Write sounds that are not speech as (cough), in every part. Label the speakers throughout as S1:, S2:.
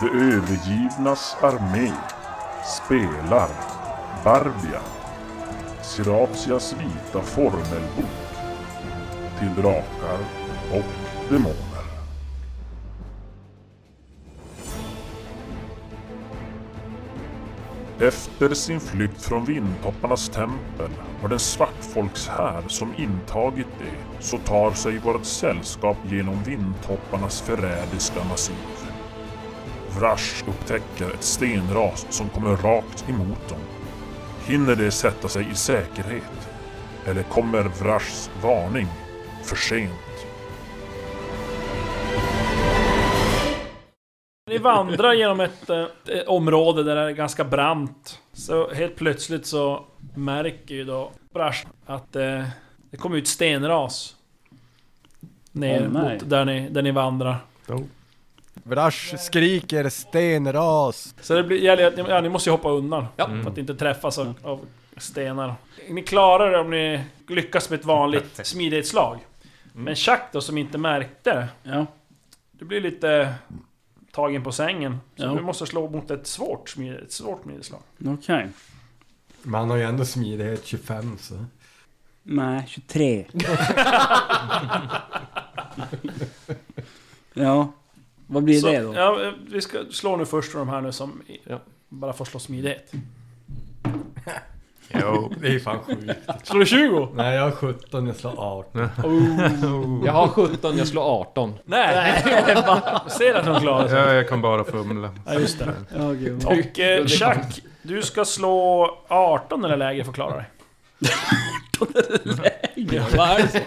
S1: De övergivnas armé spelar Barbia, Siratias vita formelbok till drakar och demoner. Efter sin flykt från vindtopparnas tempel och den svartfolkshär som intagit det så tar sig vårt sällskap genom vindtopparnas förrädiska massiv. Vrash upptäcker ett stenras som kommer rakt emot dem. Hinner de sätta sig i säkerhet? Eller kommer Vrashs varning för sent?
S2: Ni vandrar genom ett, eh, ett område där det är ganska brant. Så helt plötsligt så märker ju då Brash att eh, det kommer ut stenras. Ner
S3: Åh, nej.
S2: mot där ni, där ni vandrar.
S4: Vrash skriker stenras.
S2: Så det blir, gäller att ni, ja, ni måste ju hoppa undan.
S5: Ja.
S2: För att inte träffas
S3: Mm.
S2: av, av stenar. Ni klarar det om ni lyckas med ett vanligt smidighetsslag. Men Chuck då som inte märkte.
S3: Ja.
S2: Du blir lite tagen på sängen. Så
S3: Ja.
S2: du måste slå mot ett svårt, smid, ett svårt smidighetsslag.
S3: Okej.
S6: Men han har ju ändå smidighet 25 så.
S3: Nej, 23. (laughs) ja. Vad blir
S2: Så,
S3: det då?
S2: Ja, eh, vi ska slå nu först de här nu som i-
S5: Ja.
S2: bara får slå smidighet.
S6: Jo. Det är ju fan sjukt.
S2: Slår du 20?
S6: Nej jag har 17, jag slår 18.
S5: Jag har 17, jag slår 18.
S2: Nej! (laughs) Jag ser att de klarar sig.
S7: Ja, jag kan bara fumla.
S2: Ja, just det.
S3: Ja, gud.
S2: Och eh, Chuck, du ska slå 18 eller lägre för att klara dig.
S3: Vad är det så?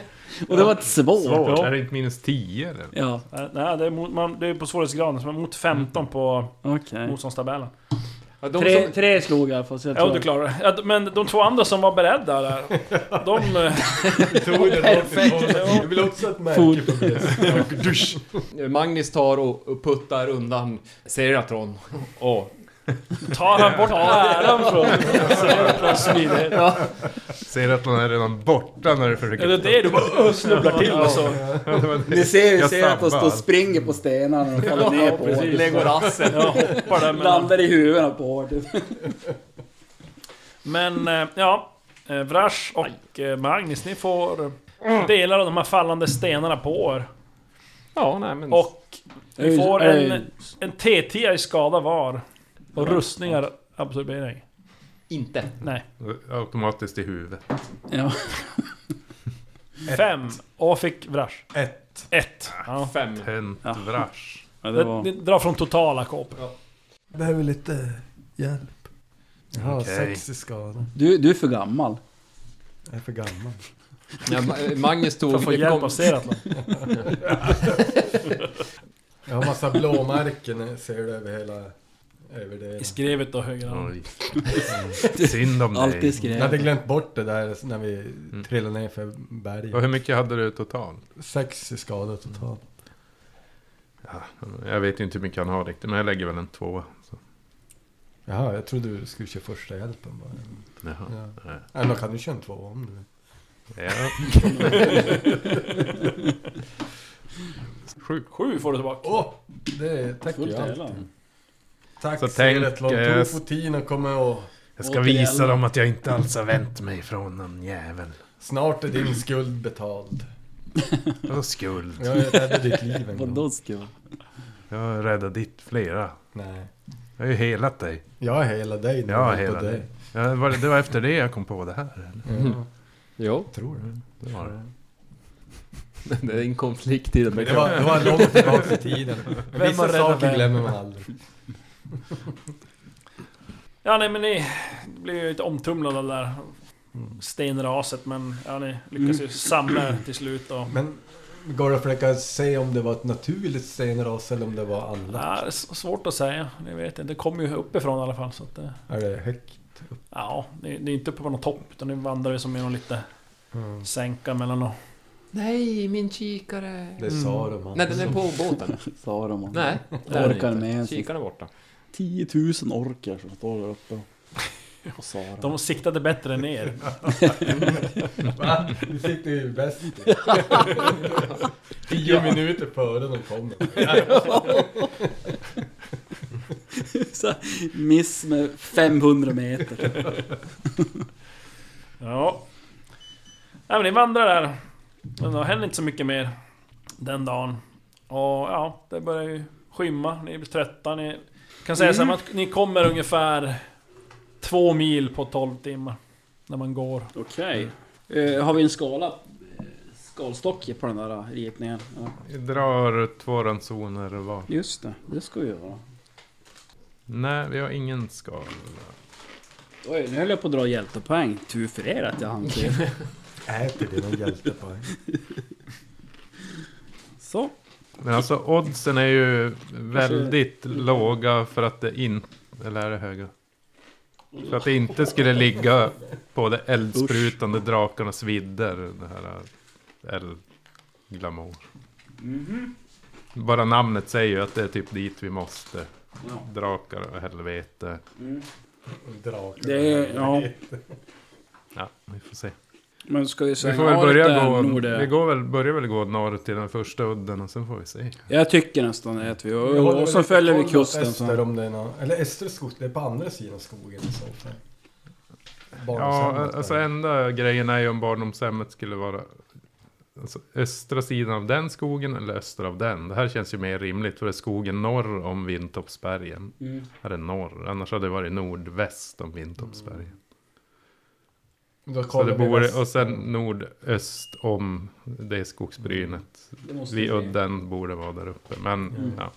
S3: Och det var ett svårt.
S7: Svårt. Är det inte minus 10 eller?
S3: Ja,
S2: Eh, Nej, det är, mot, man, det är på svårighetsgraden, så man är mot 15 på
S3: okej.
S2: motståndstabellen.
S5: Ja, de
S3: Tre,
S5: som,
S3: tre slog jag fast jag
S2: Ja,
S3: tror...
S2: du klarar det. Ja, d- Men de två andra som var beredda där, de... eh,
S6: Tog det
S2: Perfekt.
S6: Jag vill också ha ett märke
S3: Fot.
S6: på det. Dusch.
S5: Magnus tar och, och puttar undan Seratron. Och
S2: Tar han bort äran från från smidighet?
S7: Ser att någon är redan borta när du försöker...
S2: Är det det du bara snubblar till och så?
S7: det
S8: Ni ser ju ser att de står
S7: sabbar.
S8: och springer på stenarna och faller ner på
S2: precis.
S8: hårt.
S5: lägger rassen.
S2: Ja, hoppar där mellan.
S8: Landar i huvudena på hårt.
S2: Men eh, ja, eh, Vrash och eh, Magnus, ni får eh, delar av de här fallande stenarna på er.
S5: Ja, nej men...
S2: Och ni
S3: Oj,
S2: får
S3: oj.
S2: en, en T10 i skada var. Och rustningar absorbering.
S5: inte.
S2: Nej,
S7: Automatiskt i huvudet.
S3: Ja.
S2: fem. Och fick Vrash.
S6: Ett.
S2: Ett. Ja.
S5: Fem.
S7: Tänt
S3: Ja.
S7: vrash.
S3: ja, det
S2: Det,
S3: var...
S2: det drar från totala KP.
S6: Behöver lite hjälp. Jag har
S7: Okej.
S6: sex i skada.
S3: Du, du är för gammal.
S6: Jag är för gammal.
S5: Ja, Ma- Magnus
S2: För
S5: tog...
S2: att få hjälp av Seratlon.
S6: Jag har massa blåmärken ser du över hela... Över det.
S2: I skrevet då höger hand.
S7: Oj. (laughs) Synd om
S3: Alltid
S7: dig.
S6: Jag hade
S3: skräp.
S6: glömt bort det där när vi trillade ner för berget.
S7: Mm. Och hur mycket hade du totalt?
S6: Sex i skada totalt.
S7: Jag vet ju inte hur mycket han har riktigt, men jag lägger väl en två. Så.
S6: Jaha, jag trodde du skulle köra första hjälpen bara.
S7: Jaha.
S6: Ja.
S7: Nej.
S6: Eller kan du köra en två om du vill.
S7: Ja. Sju.
S2: Sju får du tillbaka.
S6: Åh! Det tackar
S3: Fullt
S6: jag
S3: hela.
S6: alltid. Tack
S7: Så
S6: så
S7: tänk,
S6: Seretlon,
S7: eh,
S6: tog fotin och kommer och...
S7: Jag ska
S3: Återigen.
S7: visa dem att jag inte alls har vänt mig från någon jävel.
S6: Snart är din skuld betald.
S7: Vadå skuld?
S6: Jag räddade ditt liv en gång.
S3: Vadå skräp?
S7: Jag har räddat ditt flera.
S6: Nej.
S7: Jag har ju helat dig.
S6: Jag har hela dig nu.
S7: Jag har
S6: på
S7: helat dig. Ja, var det, det var efter det jag kom på det här. eller?
S6: Ja,
S5: Jo, (laughs)
S6: tror det.
S7: Det var det.
S5: det är en konflikt i det.
S6: Det var, det var långt tillbaka i tiden.
S2: Vem har
S6: Vissa
S2: räddat
S6: saker
S2: vem?
S6: glömmer man aldrig.
S2: Ja, nej men ni blir ju lite omtumlade av det där stenraset. Men ja, ni lyckas ju samla er till slut. Och,
S6: Men går det att försöka se om det var ett naturligt stenras eller om det var anlagt?
S2: ja, det är s- svårt att säga. Ni vet inte. Det kommer ju uppifrån i alla fall. Så att, eh,
S6: Är det högt?
S2: ja, det, det är inte uppe på någon topp. Utan ni vandrar ju som i någon lite
S6: Mm.
S2: sänka mellan och...
S5: Nej, min kikare!
S6: Det sa de.
S5: Nej, den är på båten.
S3: Sa de. Nej.
S5: Nej,
S3: Orkar
S5: är den
S3: med
S5: inte.
S3: ens.
S5: Kikaren är borta.
S3: 10 000 orkar som står där uppe.
S8: (laughs)
S3: Och sa de.
S2: De siktade bättre än er.
S6: Va? Du sitter ju bäst. Tio minuter före de kommer.
S8: Så här, miss med 500 meter.
S2: Ja. Nej men ni vandrar där. Men det händer inte så mycket mer den dagen. Och ja, det börjar ju skymma, ni blir trötta, ni... Kan säga så här,
S8: Mm.
S2: att ni kommer ungefär två mil på 12 timmar. När man går.
S8: (laughs) Okej. Eh, har vi en skala? eh, Skalstocke på den där eh, ritningen? Ja,
S7: Vi drar två ransoner var.
S8: just det. Det ska vi göra.
S7: Nej, vi har ingen skala.
S8: Oj, nu höll jag på att dra hjältepoäng. Tur för er att jag hann
S7: (laughs)
S8: till.
S6: Äter det någon hjältepoäng?
S8: Så.
S7: Men alltså oddsen är ju väldigt låga för att det inte... Eller är det höga? För att det inte skulle ligga på det eldsprutande drakarnas vidder. Det här äh, eldglamour. Bara namnet säger ju att det är typ dit vi måste.
S8: Ja.
S7: Drakar och helvete.
S6: Drakar.
S8: Det är, ja.
S7: Ja, vi får se.
S8: Men ska vi säga
S7: Vi får väl börja gå... Vi
S8: Nord,
S7: går väl, börjar väl gå norr till den första udden och sen får vi se.
S8: jag tycker nästan att vi...
S6: Jag
S8: Och,
S6: håller
S8: och
S6: väl
S8: så
S6: lite
S8: följer vi
S6: koll åt
S8: kusten. Så.
S6: Öster om det är någon, eller Östra skog, det är på andra sidan skogen i så fall.
S7: Ja,
S6: Barnsämnet
S7: alltså
S6: där.
S7: enda grejen är ju om barndomshemmet skulle vara alltså, östra sidan av den skogen eller öster av den. Det här känns ju mer rimligt för det är skogen norr om Vintoppsbergen.
S8: Mm.
S7: Här är norr, annars hade det varit nordväst om Vintoppsbergen.
S6: Då
S7: Så det
S6: kollar vi
S7: borde,
S6: väster.
S7: och sen nordöst om det skogsbrynet.
S8: Det måste
S7: Vid
S8: vi-
S7: udden borde vara där uppe, men ja.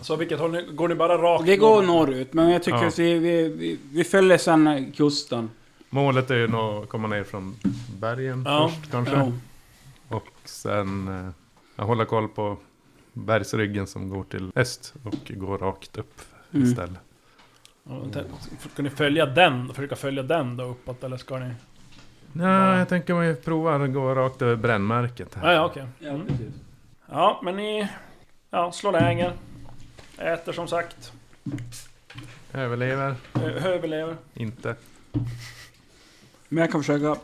S2: Så vilket håll ni, går ni bara rakt
S8: Vi går norrut, men jag tycker
S7: Ja.
S8: att vi, vi, vi, vi följer sen kusten.
S7: Målet är ju nog att komma ner från bergen
S2: Ja.
S7: först kanske.
S8: Ja.
S7: Och sen eh, jag håller koll på bergsryggen som går till öst och går rakt upp
S8: Mm.
S7: istället.
S2: Ja, men tänk- Ska ni följa den? Försöka följa den då uppåt eller ska ni...
S7: Nej, jag tänker vi provar att gå rakt över brännmärket
S2: Ja,
S7: här.
S2: ja okej. Mm. Ja, men ni... Ja, slår läger. Äter som sagt. Eh,
S7: Överlever,
S2: Ö- Överlever.
S7: inte.
S8: Men jag kan försöka...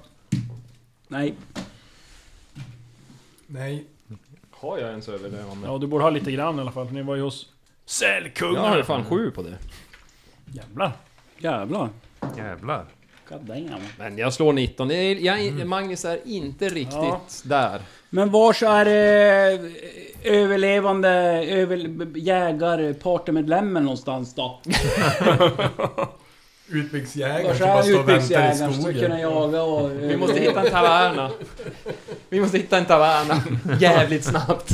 S8: Nej.
S6: Nej,
S5: Har jag ens överlevande?
S2: Ja, du borde ha lite grann i alla fall. Ni var ju hos
S5: jag
S2: sälkungarna.
S5: har fan sju på det.
S2: Jävlar.
S8: Jävlar.
S7: Jävlar.
S8: God damn.
S5: Men jag slår 19. Det är- Jag, är- Magnus är inte riktigt
S2: Ja.
S5: där.
S8: Men vars är eh, överlevande över, jägare, partymedlemmen någonstans då?
S6: utbyggsjägare
S8: Vars
S6: som bara
S8: är
S6: står och väntar i
S8: utbyggsjägaren som ska
S6: skogen.
S8: kunna jaga och... eh,
S5: Vi måste hitta en taverna. Vi måste hitta en taverna. Jävligt snabbt.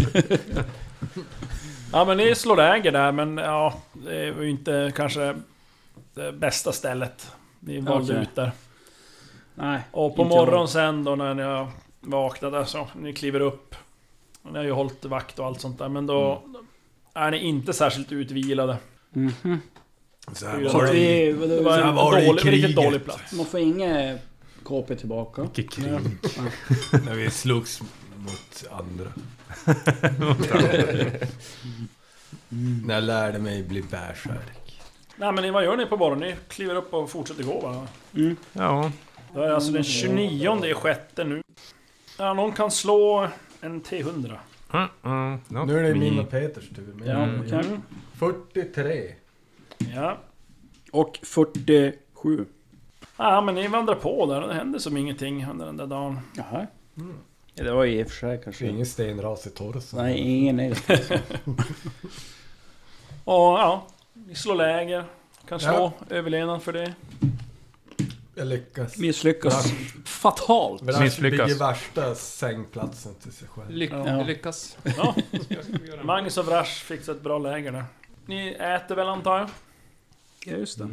S2: Ja, men ni slår läger där, men ja... Det var ju inte kanske det bästa stället ni valde
S8: Okej.
S2: ut där.
S8: Nej.
S2: Och på
S8: Inte
S2: morgonen sen då när jag vaknade så, ni kliver upp. Ni har ju hållit vakt och allt sånt där, men då... Är ni inte särskilt utvilade.
S6: Mm-hmm.
S8: Mhm.
S6: Så
S2: Det är ju
S8: Så
S6: här
S8: att
S6: var det.
S2: Det
S8: vi... vadå,
S2: var
S6: Sen
S2: en
S6: var det i
S2: dålig, riktigt
S6: kriget.
S2: dålig plats.
S8: Man får inget KP tillbaka.
S7: Vilket krig.
S6: (laughs) När vi slogs mot andra. När jag lärde mig bli bärsärk.
S2: Nej men ni- vad gör ni på morgonen? Ni kliver upp och fortsätter gå va?
S7: Ja,
S2: Det är
S6: Mm.
S2: alltså den 29 i sjätte nu. Ja, någon kan slå en T100.
S7: mm, mm. Något
S6: Nu är det
S7: vi-
S6: min och Peters tur. Men
S8: Ja, okej.
S6: 43.
S2: Ja.
S8: Och 47.
S2: ja, men ni vandrar på där. Det händer som ingenting under den där dagen.
S8: Jaha. Ja, det var ju i och för sig
S6: Det
S8: kanske...
S6: är Mm. ingen stenras i torsen.
S8: Nej, ingen är det.
S2: Och ja, ni slår läger. Kan slå överlevnad för
S6: (laughs)
S2: det.
S6: Jag lyckas.
S8: Misslyckas. Fatalt.
S6: Men han
S7: Misslyckas.
S6: bygger värsta sängplatsen till sig själv.
S5: Lyck,
S2: Ja.
S5: Lyckas.
S2: Ja. Magnus och Vrash fixar ett bra läger där. Ni äter väl antar jag?
S8: Ja, just det.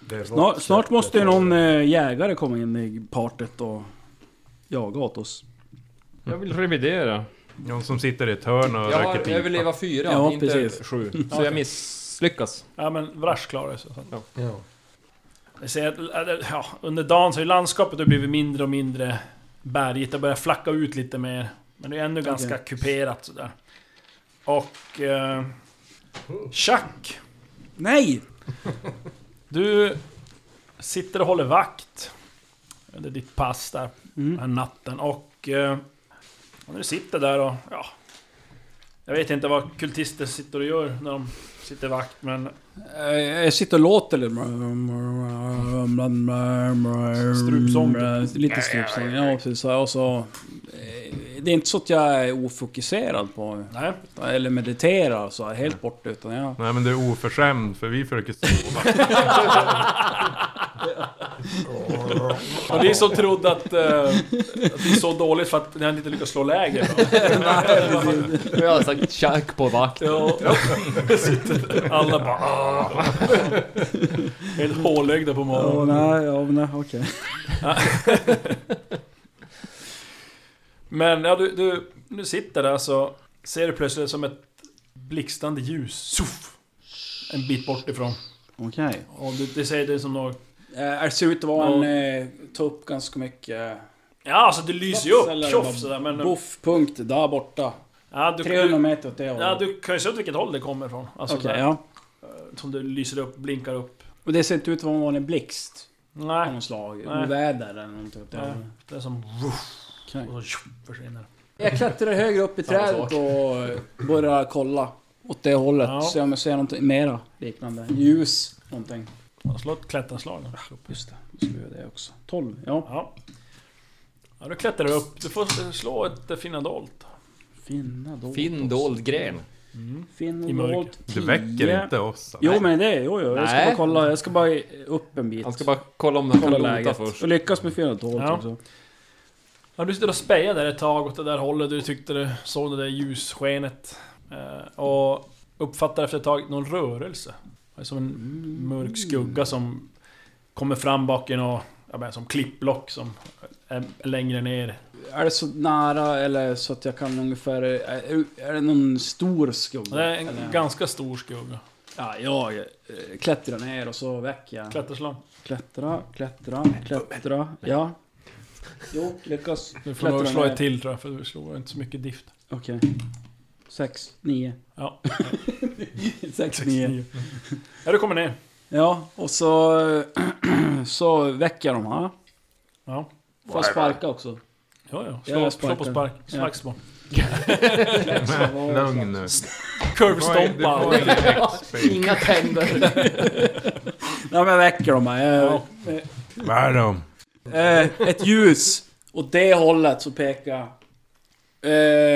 S6: Det var
S8: Snart, snart måste ju
S6: jättebra.
S8: någon eh, jägare komma in i partet och jaga åt oss.
S5: Jag vill revidera.
S7: Någon som sitter i ett hörn och
S5: Jag har
S7: röker pipa.
S5: överleva fyra,
S8: Ja,
S5: inte
S8: precis.
S5: sju. Så jag misslyckas.
S2: Ja men Vrash klarar sig.
S6: Ja.
S2: Jag säger att, eller, ja, under dagen så har ju landskapet har blivit mindre och mindre bergigt. Det börjar flacka ut lite mer. Men det är ändå ganska kuperat sådär. Och... Eh, Chuck!
S8: Nej!
S2: Du sitter och håller vakt. Under ditt pass där, den här natten. Och... Eh, när du sitter där och ja, Jag vet inte vad kultister sitter och gör när de sitter vakt men...
S8: Eh, Jag sitter och låter lite.
S2: Strupsång.
S8: Eh, Lite strupsång, ja precis. så här, Och så, eh, det är inte så att jag är ofokuserad på...
S2: Nej.
S8: Eller mediterar så här, helt borta utan jag...
S7: Nej men du är oförskämd för vi försöker sova.
S2: Och ni som trodde att, eh, att det är så dåligt för att ni hade inte lyckats slå läger.
S5: Jag har sagt tjack på vakt.
S2: Ja. Sitter alla bara... "Ah." Helt hålögda på
S8: Ja,
S2: morgonen.
S8: nej, ja, nej, okej.
S2: Men ja, du, du, du sitter där så ser du plötsligt som ett blixtrande ljus. Suff! En bit bort ifrån.
S8: Okej.
S2: Och du, det säger det som något...
S8: Eh, Det ser ut att vara en... eh, Ta upp ganska mycket...
S2: Ja, alltså det lyser ju
S8: Eller
S2: upp!
S8: bara
S2: Tjoff sådär men...
S8: eh, Boffpunkt där borta.
S2: Ja, du,
S8: 300
S2: du,
S8: meter åt det
S2: ja,
S8: hållet.
S2: du kan ju se åt vilket håll det kommer ifrån. Alltså
S8: Okej,
S2: där,
S8: ja.
S2: Som du lyser upp, blinkar upp.
S8: Och det ser inte ut att vara en vanlig blixt. Av
S2: Nej,
S8: något slag.
S2: Nej.
S8: Oväder eller något åt det
S2: Nej.
S8: hållet.
S2: det är som...
S8: Okej.
S2: Och så tjoff, försvinner.
S8: Jag klättrar högre upp i
S5: Samma
S8: trädet
S5: sak.
S8: och börjar kolla åt det hållet.
S2: Ja.
S8: Se om jag ser någonting mera liknande. Ljus, någonting.
S2: Man slår ett klätterslag.
S8: Just det, då ska vi göra det också. 12, ja.
S2: Ja. Ja, du klättrar upp. Du får slå ett eh, finna dolt.
S8: Finna dolt.
S5: Fin dold gren.
S8: Finna
S2: I mörker.
S8: dolt.
S7: Du väcker
S8: 10.
S7: inte oss.
S8: Jo men det, jo, jo. Jag ska
S5: Nej.
S8: bara kolla, jag ska bara upp en bit.
S5: Han ska bara kolla om den kan
S8: kolla
S5: låta
S8: läget.
S5: först.
S8: Och lyckas med 412
S2: Ja.
S8: också.
S2: Ja, du sitter och spejar där ett tag åt det där hållet. Du tyckte du såg det där ljusskenet. Eh, och uppfattar efter ett tag någon rörelse. Det är som en
S8: Mm.
S2: mörk skugga som kommer fram bak i något... Jag menar, som klippblock som är längre ner.
S8: Är det så nära eller så att jag kan ungefär... Är, är det någon stor
S2: Och
S8: skugga?
S2: Det är en
S8: eller?
S2: ganska stor skugga.
S8: Ja, jag eh, klättrar ner och så väcker jag.
S2: Klätterslag.
S8: Klättra, klättra, klättra. Ja. Jo, lyckas.
S2: Du får nog
S8: Klättra
S2: slå
S8: ner.
S2: ett till tror jag, för du slog inte så mycket dift.
S8: Okej. Sex, nio.
S2: Ja.
S8: (laughs) Sex, nio.
S2: Ja, du kommer ner.
S8: Ja, och så... (clears throat) eh, så väcker jag dem här.
S2: Ja.
S8: Får jag sparka också?
S2: Ja, ja.
S8: Ja,
S2: Slå,
S8: jag
S2: slå på
S8: sparkar.
S2: spark.
S8: Ja.
S2: Slagsmål.
S7: (laughs) Men, lugn nu. Du
S2: Curve-stompa.
S5: (laughs)
S7: får ju XP.
S5: Inga tänder.
S8: (laughs) Nej, men jag väcker dem här. Jag,
S2: Ja.
S7: Vad är de?
S8: Eh, ett ljus åt det hållet så pekar jag.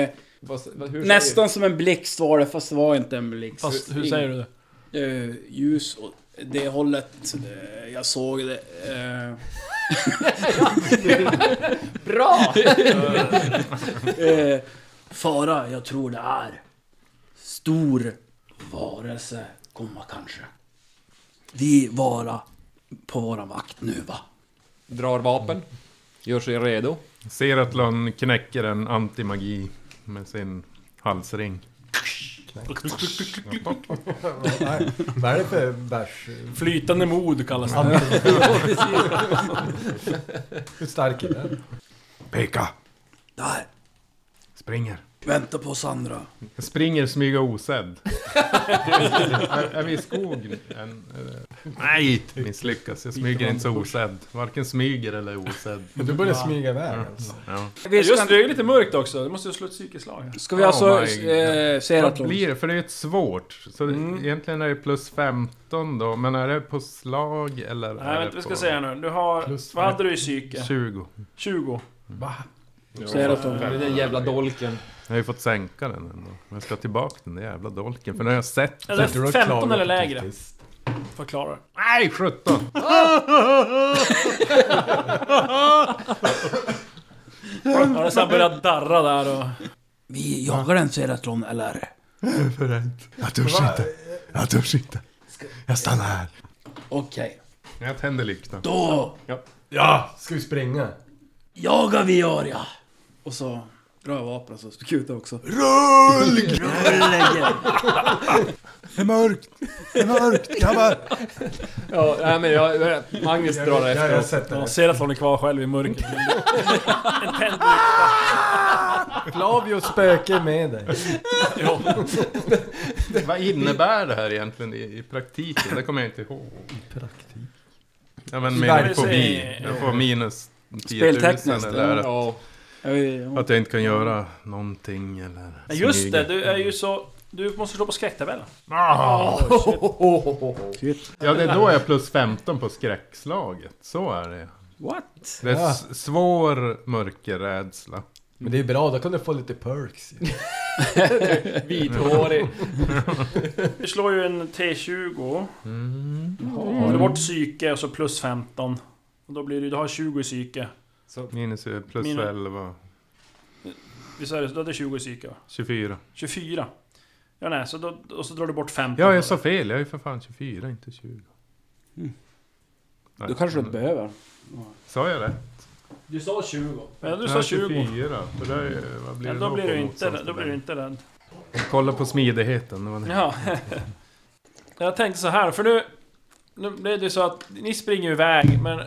S8: Eh,
S5: Fast, vad- hur säger
S8: nästan som en blixt var det, fast det var inte en blixt.
S2: Fast hur säger du det?
S8: Eh, ljus åt det hållet. Eh, jag såg det. Eh,
S5: du? Bra!
S8: eh, fara, jag tror det är. Stor varelse komma kanske. Vi vara på våran vakt nu va?
S5: Drar vapen. Gör sig redo.
S7: Ser att Lönn knäcker en antimagi med sin halsring.
S6: Nej, Vad är det för bärs?
S2: Flytande mod kallas det.
S6: Hur stark är den?
S7: Peka!
S8: Där,
S7: Springer.
S8: vänta på Sandra.
S7: Jag springer smyga
S2: (laughs)
S7: osedd. är, är vi i skogen? eh, än, eller? Nej! Misslyckas. Jag smyger inte så osedd. Varken smyger eller osedd.
S6: Du börjar smyga iväg alltså.
S7: Ja.
S8: Vi ska,
S2: Just det, det är ju lite mörkt också. Du måste ju slå ett psykiskt slag. här.
S8: ska vi
S7: Oh
S8: alltså...
S7: my
S8: eh, säga att
S7: Vad blir det? För det är ju ett svårt. Så det, egentligen är det plus 15 då. Men är det på slag eller?
S2: Nej,
S7: är
S2: vänta,
S7: det
S2: vi
S7: på
S2: ska se här nu. Du har...
S7: Plus
S2: Vad hade du i psyke?
S7: 20.
S2: 20.
S5: Det är den jävla dolken.
S7: Jag har ju fått sänka den ändå. Men Jag ska tillbaka den där jävla dolken. För nu har jag sett
S2: Eller
S6: Du har
S2: 15
S6: klarat
S2: Alltså, eller
S6: det
S2: lägre.
S6: faktiskt.
S2: Förklara det.
S7: Nej, 17!
S2: Ja, det sen börjar darra där och...
S8: Vi jagar den Seratron
S7: (laughs)
S8: eller?
S7: Jag törs inte. Jag törs inte. Jag stannar här.
S8: Okej.
S7: Jag tänder lyktan.
S8: Då
S6: Ja, ska vi springa?
S8: jagar vi Arja! Och så drar jag vapnet så skutar (laughs) jag också.
S4: Det är mörkt! Det är mörkt grabbar!
S5: Ja, nej men jag, jag- Magnus drar
S6: Ja, jag
S5: efter.
S6: sätter
S2: Ja,
S6: den.
S2: ser att hon är kvar själv i mörkret.
S6: Flavio spöke med dig.
S7: Vad innebär det här egentligen i, i praktiken? Det kommer jag inte ihåg. Ja men med
S2: vi
S7: fobi.
S2: se.
S7: Jag får minus 10 000
S8: Speltekniskt,
S7: eller
S8: ja.
S7: att
S5: Ja,
S8: Jag, jag,
S7: Att jag inte kan göra någonting eller...
S2: Nej, just
S7: smyga.
S2: det, du är ju så... Du måste slå på skräcktabellen.
S7: Ja, det är då jag är plus 15 på skräckslaget. Så är det.
S8: what?
S7: Det är s- svår mörkerrädsla.
S6: Men det är bra, då kan du få lite perks.
S5: Vithårig.
S2: Du slår ju en T20. Mm. Har du bort psyke och så plus 15. Och då blir det, du har 20 i psyke.
S7: Minus ju plus
S2: Minus-
S7: 11.
S2: Visst är det? Du hade 20 i psyke va?
S7: 24.
S2: 24. Ja nej, så då, och så drar du bort 15.
S7: Ja, jag sa fel. Jag är ju för fan 24, inte 20. Nej,
S8: Du Mm. kanske inte behöver.
S7: Sa jag det?
S8: Du sa 20.
S2: Men du
S7: Ja,
S2: sa 20.
S7: 24. För det är, ju- vad blir
S2: Ja,
S7: det
S2: då blir
S7: på
S2: du inte rädd. Då blir
S7: motståndstabellen?
S2: du inte
S8: (laughs)
S2: rädd.
S7: Kolla på smidigheten. Det var det.
S2: Ja. (laughs) Jag tänkte så här, för nu... Nu blev det ju så att ni springer iväg, men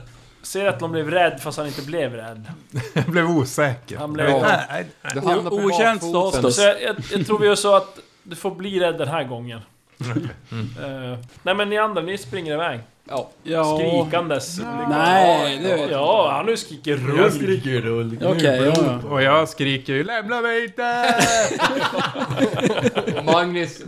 S2: ser att någon blev rädd fast han inte blev rädd.
S7: (laughs) Jag blev osäker.
S2: Han blev...
S5: Ja.
S7: Nej,
S5: Du hamnar på
S8: Okänt
S5: bakfoten.
S8: status.
S2: Så jag, jag, jag tror vi sa att du får bli rädd den här gången. Eh, nej men ni andra, ni springer iväg.
S5: Ja.
S8: Ja.
S2: Skrikandes. Liksom.
S8: Nej, det vet jag
S2: Ja, han nu skriker rull.
S6: skriker rull.
S8: inte. Okej, ja, ja.
S7: Och jag skriker ju 'Lämna mig inte!'
S5: Magnus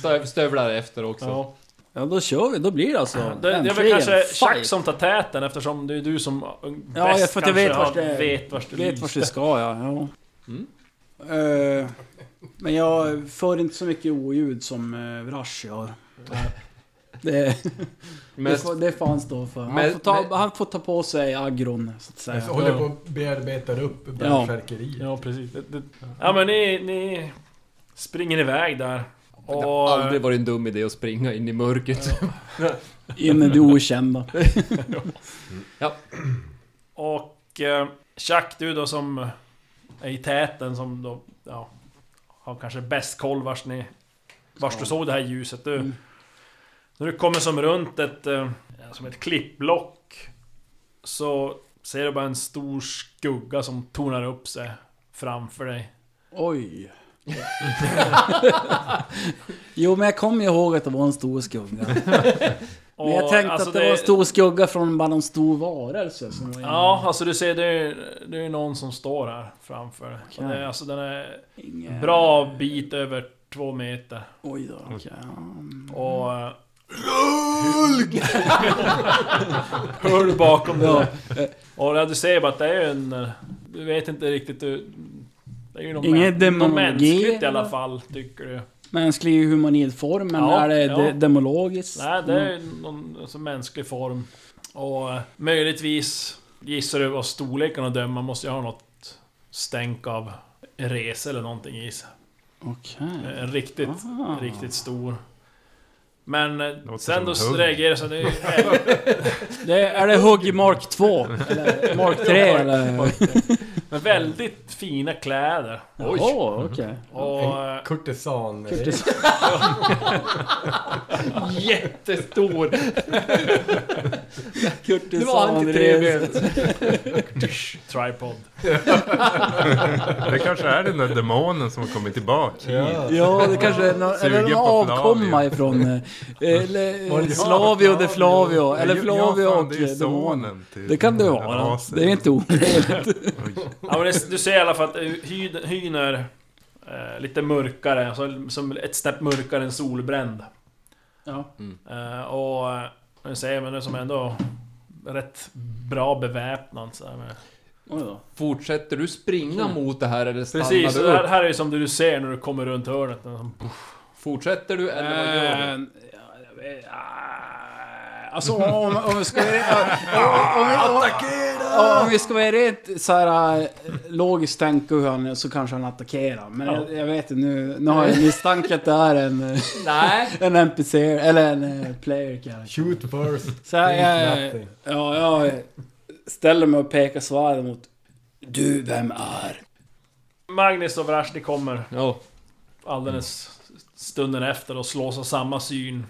S5: stöv, stövlar efter också.
S2: Ja.
S8: ja, då kör vi. Då blir det alltså
S2: Det, det är väl
S8: äntligen
S2: kanske Chuck
S8: fight.
S2: som tar täten eftersom det är du som ja, bäst
S8: Ja, jag, för att jag vet vart
S2: kanske
S8: det
S2: har-
S8: är.
S2: vet vart du
S8: Vet
S2: lyser.
S8: vart det ska, ja. ja. Eh, men jag för inte så mycket oljud som uh, Vrash gör. Det, det,
S5: Mest,
S8: får, det fanns då för. Han,
S5: Men-
S8: får ta,
S5: men-
S8: han får ta på sig aggron, så att säga.
S6: Jag håller på att bearbeta upp bärsärkeriet.
S2: Ja, precis. typ. Det, det, ja, men ni, ni springer iväg där.
S5: det
S2: Och,
S5: har aldrig varit en dum idé att springa in i mörkret.
S8: In i det okända.
S2: och eh, Chuck, du då som är i täten som då, ja, har kanske bäst koll vars ni... Vars du såg det här ljuset. Du, När du kommer som runt ett... eh, ja, Som ett klippblock. Så ser du bara en stor skugga som tornar upp sig framför dig.
S8: Oj. jo, men jag kommer ihåg att det var en stor skugga. Men jag
S2: Och,
S8: tänkte
S2: alltså,
S8: att det, var en stor skugga från bara någon stor varelse som var inne.
S2: Ja, alltså du ser det är, det är någon som står här framför.
S8: Okej.
S2: Och det, är- alltså den är
S8: Ingen-
S2: bra bit över två meter.
S8: Oj då. okej.
S2: Och...
S8: Mm.
S2: eh, (laughs) Hör bakom dig. Och ja, du ser bara att det är ju en... eh, Du vet inte riktigt du... Det är ju någon,
S8: Ingen
S2: män- någon
S8: demonologi,
S2: mänskligt i
S8: eller?
S2: alla fall, tycker du.
S8: Mänsklig humanidform, men
S2: Ja,
S8: är det
S2: ja.
S8: de- demologiskt?
S2: Nej, det är
S8: Mm.
S2: ju någon alltså, mänsklig form. Och eh, möjligtvis gissar du av storleken att döma måste jag ha något stänk av res eller någonting i sig.
S8: Okej.
S2: En Eh, riktigt,
S8: Ah.
S2: riktigt stor. Men eh,
S7: Låter
S2: sen
S7: som
S2: då
S7: hugg.
S2: reagerar jag så att det
S7: (laughs)
S2: är
S8: Det är det hugg i Mark 2? Eller Mark 3 eller?
S2: men väldigt fina kläder.
S8: Oj! Oh, okej.
S2: Och eh,
S6: Kurtisan.
S5: Jättestor.
S8: Kurtis
S5: Det var han till trevligt.
S2: tripod.
S7: (laughs) Det kanske är den där demonen som har kommit tillbaka.
S6: Ja.
S8: Ja, det kanske är någon, eller
S7: Sugen
S8: någon
S7: på
S8: avkomma
S7: Flavio.
S8: ifrån... eh, Eller
S6: Var
S8: eh,
S6: det-
S8: Slavio de Flavio. Eller
S7: Ja,
S8: Flavio
S7: fan,
S8: och
S7: det är ju
S8: demonen.
S7: sonen till
S8: Det kan det
S7: den
S8: vara.
S7: här rasen.
S8: Det är inte omöjligt.
S7: Oj.
S2: Ja, men det, du ser i alla fall att eh, hyn, hyn är eh, lite mörkare, alltså, som ett snäpp mörkare än solbränd.
S8: Ja.
S2: Eh, och eh, nu säger man det som ändå rätt bra beväpnad. Så här med.
S8: Oj då.
S5: Fortsätter du springa mot det här eller stannar
S2: Mm. Precis,
S5: du
S2: det här,
S5: upp?
S2: här är ju som det du ser när du kommer runt hörnet.
S5: Fortsätter du eller vad gör du?
S8: Eh, ja, Alltså om, om vi ska vara... om- om- om- Om vi ska vara rent så här eh, logiskt tänka hur han så kanske han attackerar. Men jag, jag vet inte nu. Nu har jag misstanke att det är en, eh,
S5: Nej.
S8: en NPC eller en eh, player kanske.
S6: Shoot first.
S8: Så jag,
S6: think
S8: jag, eh,
S6: nothing.
S8: ja, jag ställer mig och pekar svärd mot... Du, vem är?
S2: Magnus och Vrash, ni kommer
S5: Ja.
S2: alldeles stunden efter och slås av samma syn.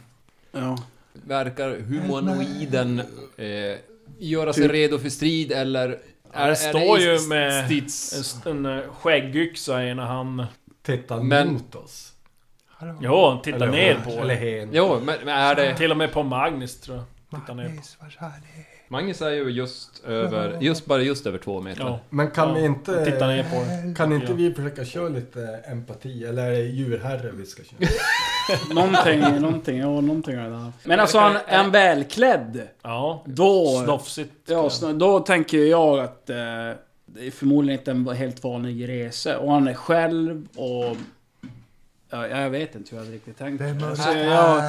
S8: Ja.
S5: Verkar humanoiden eh, göra sig redo för strid eller? Är, är
S2: Typ. står
S5: det i
S2: ju
S5: st-
S2: med-
S5: Stids?
S2: En, en eh, skäggyxa i ena handen.
S6: Titta
S5: Men-
S6: mot oss.
S2: Jo, han tittar ner på
S6: Eller
S2: er.
S6: hen.
S5: Jo, men, men är det...
S2: Till och med på Magnus tror jag. Tittar ner på.
S4: Yes, vad sa ni?
S5: Magnus är ju just över, just bara just över två meter.
S2: Ja.
S6: Men kan
S2: Ja,
S6: vi inte...
S2: titta ner på det.
S6: Kan inte
S2: Ja.
S6: vi försöka köra lite empati? Eller är det djurherre vi ska köra?
S8: Någonting, någonting, ja någonting är det där. Men alltså han är han välklädd.
S2: Ja.
S8: Då...
S2: Snofsigt.
S8: Ja, snö- då tänker jag att eh, det är förmodligen inte en helt vanlig resa. Och han är själv och... Ja, jag vet inte hur jag hade riktigt tänkt. Alltså, jag,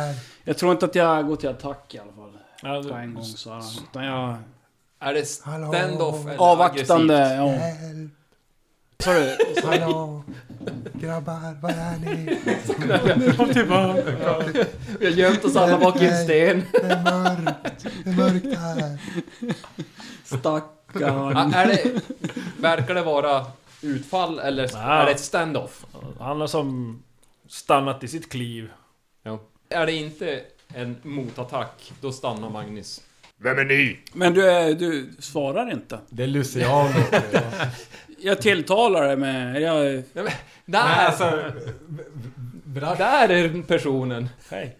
S8: jag tror inte att jag går till attack i alla fall.
S2: Ja,
S8: På en
S2: du,
S8: gång så här. Utan jag...
S5: Är det stand-off eller
S8: Avvaktande,
S5: aggressivt?
S8: ja.
S4: Hjälp,
S8: Så är det-
S4: hallå! Grabbar, var är ni?
S5: Vi har gömt oss alla bak i en sten.
S4: Det är mörkt, det är mörkt här.
S8: Stackarn.
S5: Ja, är det, verkar det vara utfall eller
S2: Ah.
S5: är det ett stand-off?
S2: han har som stannat i sitt kliv.
S5: Är det inte en motattack, då stannar Magnus.
S8: Men du, är, du svarar inte.
S6: Det är Luciano.
S2: (laughs)
S8: Jag tilltalar dig med... Jag,
S5: Där!
S6: alltså,
S2: Alltså,
S6: Brasch,
S5: Där är personen!
S2: Hej.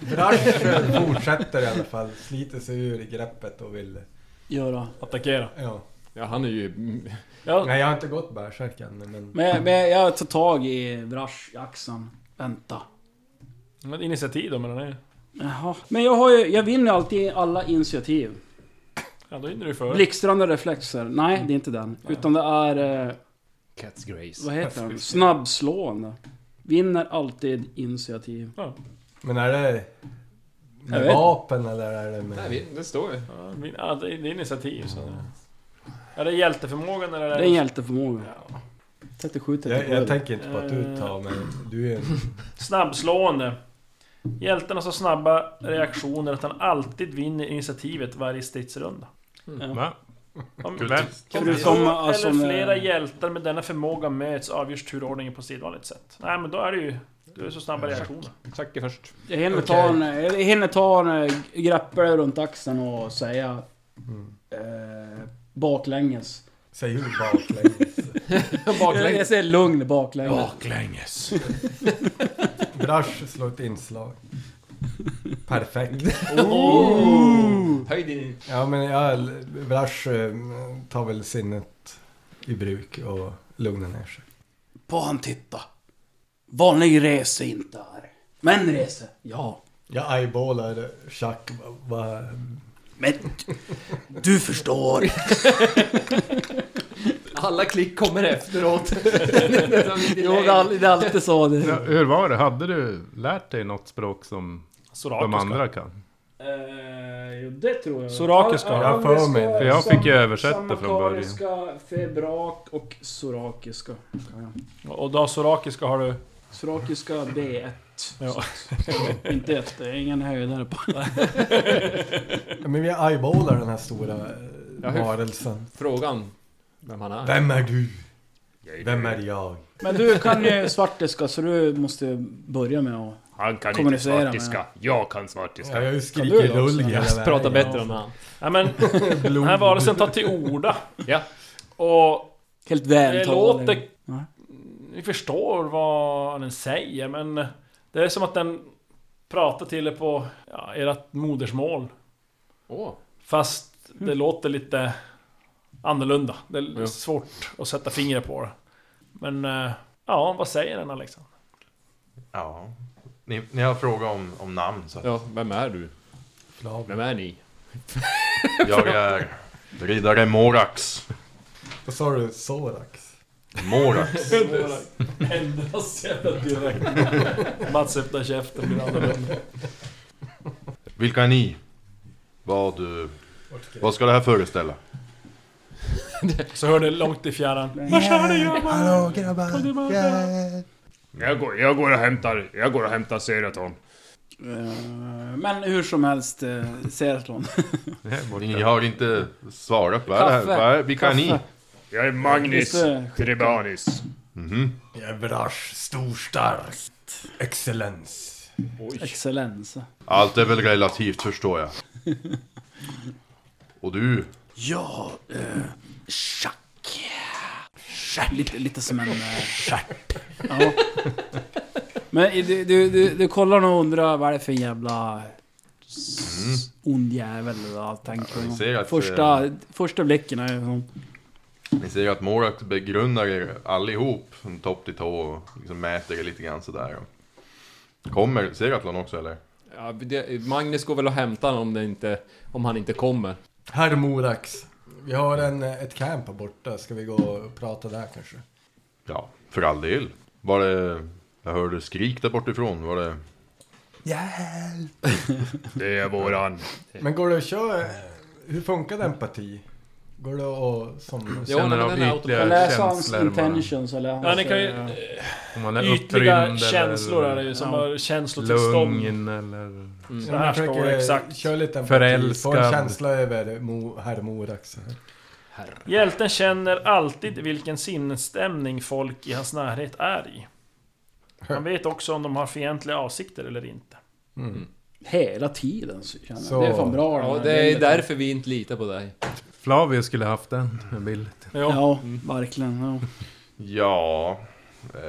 S6: brasch fortsätter i alla fall. Sliter sig ur greppet och vill...
S8: göra.
S2: Attackera.
S6: Ja.
S5: Ja, han är ju...
S2: Ja.
S6: Nej, jag har inte gått bärsärk än. Men...
S8: Men, men jag tar tag i Brash i axeln. Vänta.
S2: Men initiativ då menar ni?
S8: Jaha. Men jag har ju... Jag vinner ju alltid alla initiativ.
S2: Ja, då hinner du före.
S8: Blixtrande reflexer. Nej, det är inte den. Utan det är... Eh,
S5: Cat's Grace.
S8: vad heter den? Snabbslående. Vinner alltid initiativ.
S6: men är det
S8: Jag
S6: med
S8: vet.
S6: vapen eller är det med...
S5: Nej, vi- det står ju.
S2: Ja, min- Ja, det är det är initiativ så. Är det hjälteförmågan eller?
S8: Det är en hjälteförmåga. 37,
S6: jag,
S8: 37.
S6: jag tänker inte på att du tar, men du är en...
S2: Snabbslående. Hjälten har så snabba reaktioner att han alltid vinner initiativet varje stridsrunda.
S7: Va?
S2: Om,
S7: Kul.
S2: om
S8: Förutom,
S2: två
S8: alltså,
S2: eller
S8: med-
S2: flera hjältar med denna förmåga möts avgörs turordningen på sedvanligt sätt. Nej men då är det ju... Du är så snabba reaktioner.
S5: Tjack är först.
S8: Jag hinner ta en... Jag hinner ta en... eh, Greppa runt axeln och säga... Eh, baklänges.
S6: Säg hur baklänges.
S8: Jag, jag
S5: Baklänges.
S8: säger lugn baklänges.
S2: Baklänges.
S6: Brasch slår ett inslag. Perfekt.
S5: Höj din...
S6: Ja, men jag, Brash eh, tar väl sinnet i bruk och lugnar ner sig.
S8: På han titta. Vanlig rese inte här. Men rese, ja.
S6: Jag eyeballar Chuck. Bara,
S8: Men du (laughs) förstår.
S5: Alla klick kommer efteråt.
S8: jo, det är all- det är alltid så.
S7: Ja,
S8: Det.
S7: Hur var det? Hade du lärt dig något språk som de andra kan?
S8: Eh, jo, det tror jag.
S2: Sorakiska.
S6: Jag har för mig det.
S7: För jag fick ju översätta från början.
S8: Sammakariska, febrak och sorakiska. kan jag.
S2: Och du har sorakiska har du...
S8: Sorakiska B1.
S2: Ja.
S8: Inte ett, det är ingen höjdare på.
S2: (laughs)
S6: Ja, men vi eyeballar den här stora eh,
S5: Ja, hur-
S6: varelsen.
S5: Frågan, vem han är.
S6: Vem är du? Vem är jag?
S8: Men du kan ju svartiska så du måste börja med att
S9: Han kan inte
S8: Kommunicera med-
S9: svartiska. Jag kan svartiska.
S6: Ja, jag
S8: Kan
S6: skriker
S8: du det också?
S6: rull hela vägen.
S5: Prata bättre om han.
S2: Nej men... Den här varelsen tar till orda.
S5: Ja.
S2: Och
S8: helt
S2: det
S8: vältalig.
S2: låter...
S8: Nej.
S2: Ni förstår vad den säger men... Det är som att den pratar till er på ja, ert modersmål.
S5: Åh.
S2: Fast
S8: Mm.
S2: det låter lite annorlunda. Det är
S5: Ja.
S2: svårt att sätta fingret på det. Men eh, ja, vad säger den liksom? Alexander?
S10: Ja. Ni, ni har frågat om, om namn så att
S5: Ja, vem är du? Vem är ni?
S10: jag är riddare Morax.
S6: Vad sa du? Sorax?
S10: Morax.
S2: Ändras jävla direkt. Mats öppnar käften blir annorlunda.
S10: (laughs) Vilka är ni? Vad, eh, vad ska det här föreställa?
S2: Så hör det långt i fjärran.
S4: Eh, Hallå grabbar, hjälp!
S9: Jag, går, jag går och hämtar, jag går och hämtar Seraton.
S8: Eh, Men hur som helst, eh, Seratlon.
S10: Ni har inte svarat. Vad är det här?
S8: Kaffe.
S10: Vad är, vilka är ni?
S8: Kaffe.
S9: Jag är
S8: Just
S9: Magnus
S8: det.
S9: Grebanis.
S10: Mhm.
S6: Jag är Brash, storstark. Excellens.
S8: Excellens.
S10: Allt är väl relativt förstår jag. Och du?
S8: Ja, eh, schack. Lite, lite som en... Eh, Ja. Men i- du, du, du, du kollar nog och undrar vad det är för jävla... s- ond jävel eller allt tänker
S10: vi
S8: hon.
S10: Mm. ser att,
S8: första,
S10: eh,
S8: första blicken är ju hon.
S10: Ni ser att Morak begrundar er allihop, från topp till tå, och liksom mäter er lite grann sådär. och Kommer Seratlon också eller?
S5: Ja, det, Magnus går väl och hämtar honom om, det inte, om han inte kommer.
S6: Herr Morax, vi har en, eh, ett camp här borta. Ska vi gå och prata där kanske?
S10: Ja, för all del. Var det... Jag hörde skrik där bortifrån, var det...
S6: Hjälp!
S9: Det är våran...
S6: Men går det att köra... Hur funkar det empati? Går det att... Som,
S5: Jo, men den är automatisk.
S8: Läsa hans intentions eller hans...
S2: Ja, ni kan ju...
S8: eh,
S7: Om man är upprymd
S2: ytliga
S7: eller-
S2: känslor är det ju, som
S8: Ja.
S2: har känslotillstånd.
S7: Lugn eller...
S2: Så här står det exakt.
S6: Kör eh, lite empati. Få en
S7: Förälskad.
S6: känsla över Mo, herr Morax. här.
S2: Hjälten känner alltid vilken sinnesstämning folk i hans närhet är i. Han vet också om de har fientliga avsikter eller inte.
S8: Hela tiden så känner jag.
S6: Så-
S8: Det är fan bra den
S5: Ja,
S8: här
S5: det är
S8: bilden.
S5: därför vi inte litar på dig. (laughs)
S7: Flavio skulle haft den, en bild. (laughs)
S8: Ja, verkligen.
S10: (laughs)
S8: Ja.
S10: Ja... Eh,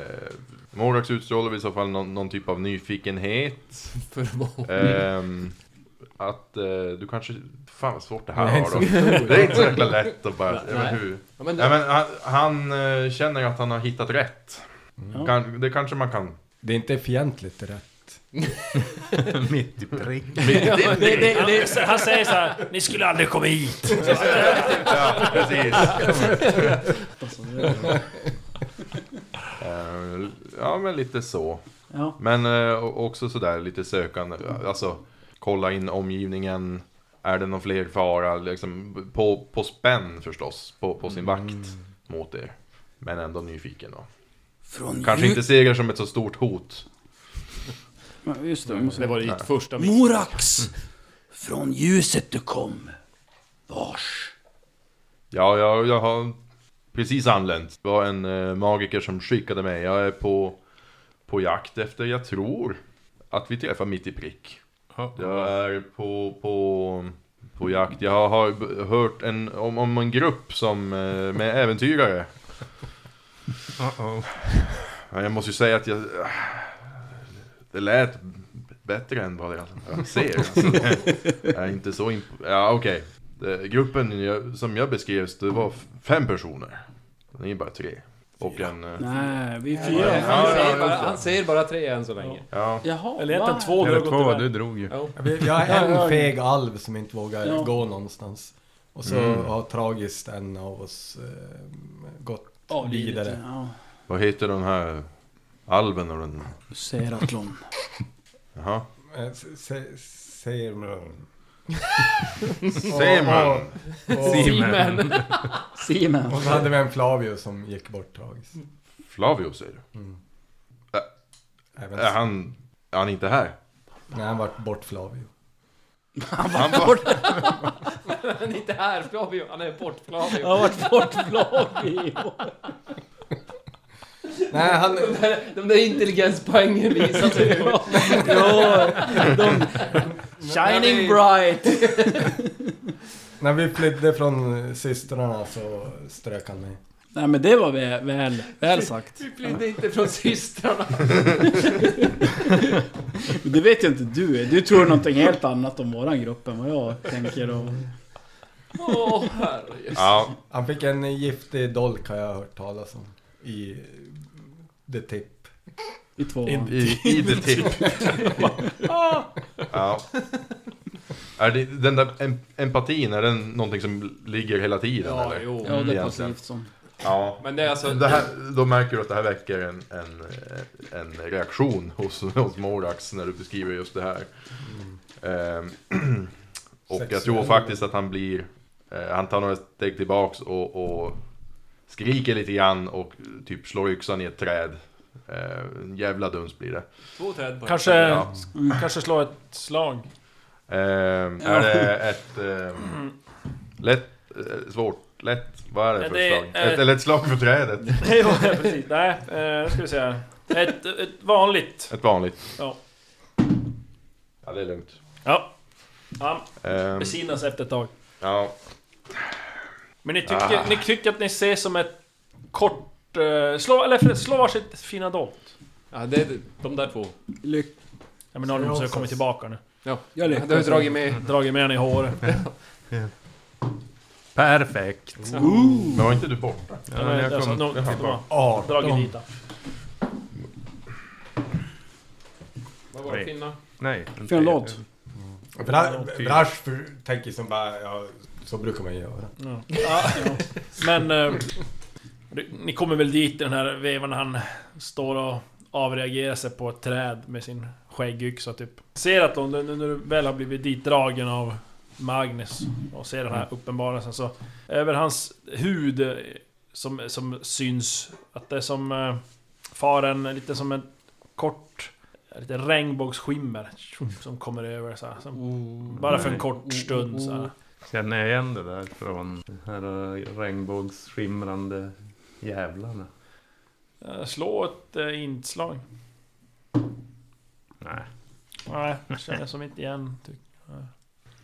S10: Morax utstrålar i så fall någon, någon typ av nyfikenhet.
S5: För vad?
S10: Ehm, att eh, du kanske... Fan vad svårt det här
S6: Nej,
S10: var
S6: så
S10: då. (laughs) Det är inte så jäkla lätt att bara...
S5: Nej.
S10: Ja, men hur?
S5: Ja, men
S10: Nej,
S5: det,
S10: men han, han eh, känner att han har hittat rätt.
S8: Ja.
S10: Kan, det kanske man kan...
S6: Det är inte fientligt det där.
S7: Mitt i prick.
S2: Det, det, det, han säger så här: ni skulle aldrig komma hit.
S10: Ja, precis.
S8: Alltså, det är-
S10: Eh, ja, men lite så.
S8: ja.
S10: Men eh, o- också sådär lite sökande. Alltså, kolla in omgivningen. Är det någon fler fara? Liksom, på, på spänn förstås. På, på sin vakt mot er. Men ändå nyfiken då.
S8: Från
S10: Kanske
S8: Ju-
S10: inte ser er som ett så stort hot.
S8: Ja, Just det, vi måste...
S5: det var ditt första miss.
S8: Morax! Från ljuset du kom. Vars?
S10: Ja, jag, jag har precis anlänt. Det var en eh, magiker som skickade mig. Jag är på, på jakt efter, jag tror, att vi träffar mitt i prick. Jag är på, på, på jakt. Jag har, har b- hört en, om, om en grupp som, eh, med äventyrare.
S7: Uh-oh.
S10: Ja, Jag måste ju säga att jag... äh, Det lät b- bättre än vad jag- jag ser. Alltså, jag är inte så imp- Ja, okej. Det- Gruppen jag, som jag beskrevs, det var f- fem personer. Ni är bara tre. Och en... eh,
S8: Nej, vi är
S5: Ja,
S8: fyra.
S5: han,
S10: ja,
S5: säger
S10: just
S5: bara,
S10: det.
S5: han säger bara tre än så länge.
S10: Ja.
S8: Jaha,
S2: Eller egentligen
S8: va?
S2: två du har
S7: Eller
S2: gått
S7: två,
S2: iväg.
S7: du drog ju.
S5: Ja.
S6: Jag är
S8: Ja, ja.
S6: en feg alv som inte vågar
S8: Ja.
S6: gå någonstans. Och så
S10: Mm.
S6: har tragiskt en av oss eh, gått
S8: Avlidet,
S6: vidare.
S8: Ja.
S10: Vad heter den här alven och den...
S8: (laughs) Seratlon.
S10: Jaha.
S6: Eh, se- se-
S8: (laughs)
S6: Ser man.
S10: Simon!
S6: Och,
S5: Simon.
S8: Simen.
S6: och så hade vi en Flavio som gick bort tragiskt.
S10: Flavio säger du?
S6: Även,
S10: Är han... Är han inte här?
S6: Nej, han vart bort Flavio.
S10: Han var...
S5: Han är inte här Flavio, han är bort
S8: Jag
S5: Flavio.
S8: har varit bortflagg.
S6: Nej, han...
S5: De där, de där intelligenspoängen visar sig.
S8: Ja, de... Shining bright.
S6: När vi flydde från systrarna så strök han mig.
S8: Nej men det var väl, väl, väl sagt.
S5: Vi flydde inte från systrarna.
S8: Men Det vet ju inte du. Du tror någonting helt annat om våran grupp än vad jag tänker. Och...
S5: Åh herrejösses.
S10: Ja,
S6: Han fick en giftig dolk har jag hört talas om. I The Tip.
S8: I två.
S10: I, i the tip. ja. Är det, den där em, empatin, är den någonting som ligger hela tiden?
S5: Ja,
S10: eller?
S5: jo.
S8: Ja, det är
S10: egentligen.
S8: passivt som...
S10: Ja.
S5: Men det är alltså...
S10: Det här, då märker du att det här väcker en, en, en reaktion hos, hos Morax när du beskriver just det här.
S6: Mm.
S10: Ehm, och jag tror
S6: Sexuell.
S10: faktiskt att han blir... Eh, han tar några steg tillbaks och, och skriker lite grann och typ slår yxan i ett träd. Eh, en jävla duns blir det.
S5: Två träd på
S2: Kanske,
S10: Ja.
S2: kanske slå ett
S8: (laughs)
S2: slag.
S10: Ehm, Är det ett ehm, lätt, eh, svårt, lätt? Vad är det
S2: Men
S10: för
S2: det
S10: slag?
S2: är-
S10: Ett, eller ett slag
S2: (laughs)
S10: för trädet?
S2: Jo, precis. Nej, eh, nu ska vi se här. Ett, ett vanligt.
S10: Ett vanligt?
S2: Ja.
S10: Ja, det är lugnt.
S2: Ja. Han
S10: Ehm,
S2: besinnas efter ett tag.
S10: ja,
S2: Men ni tycker,
S10: Ah.
S2: ni tycker att ni ser som ett kort... Eh, slå, eller för, slå varsitt fina dolt.
S5: Ja, det är de där två.
S8: Lyck...
S2: Jag menar, nu måste jag komma tillbaka nu.
S5: Ja, det har ju dragit med.
S2: Dragit med den i håret.
S7: Perfekt.
S10: Ooh. Men var inte du borta?
S7: Ja, men jag kom,
S2: de,
S7: jag
S2: de,
S7: kom
S2: de
S7: bara.
S2: har dragit dit den.
S5: Vad var det finna? (laughs)
S7: Nej.
S8: För en låt.
S6: Bra- Brash för- tänker som bara, ja, så brukar man göra.
S2: Ja. Ja, ja. Men... Eh, det- ni kommer väl dit i den här vevan när han står och avreagerar sig på ett träd med sin skäggyxa typ. Ser att de, nu när du väl har blivit ditdragen av Magnus och ser den här
S7: Mm.
S2: uppenbarelsen så... Över hans hud eh, som, som syns, att det är som... Eh, faren, lite som en kort... Lite regnbågsskimmer tjum, som kommer över så här, som, Bara för en
S7: nej.
S2: kort stund så här.
S7: Känner jag igen det där från de här eh, regnbågsskimrande jävlarna?
S2: Eh, Slå ett eh, inslag.
S7: Nej.
S2: Nej, känner som inte igen. Tyck.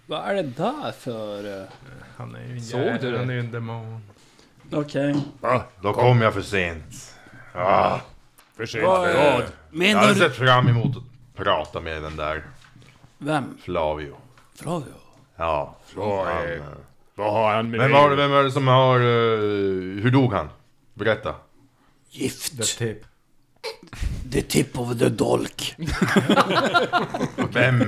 S8: Vad är det där för... eh?
S7: Han är ju en
S8: Såg
S7: jävel,
S8: du det?
S7: Han är ju en demon.
S8: Okej.
S10: Ah, då kom jag för sent. Ah.
S9: För sent
S8: Vad,
S9: för
S8: eh,
S9: vad? Alltså-
S10: Jag
S8: Menar
S10: hade
S8: du...
S10: sett fram emot att prata med den där
S8: Vem?
S10: Flavio.
S8: Flavio?
S10: Ja.
S9: Vad
S10: han,
S9: är-
S10: eh,
S9: Vad har han med
S10: Vem var, det, vem var det som har... eh, hur dog han? Berätta.
S6: The
S8: Gift.
S6: tip.
S8: The tip of the dolk.
S10: Vem?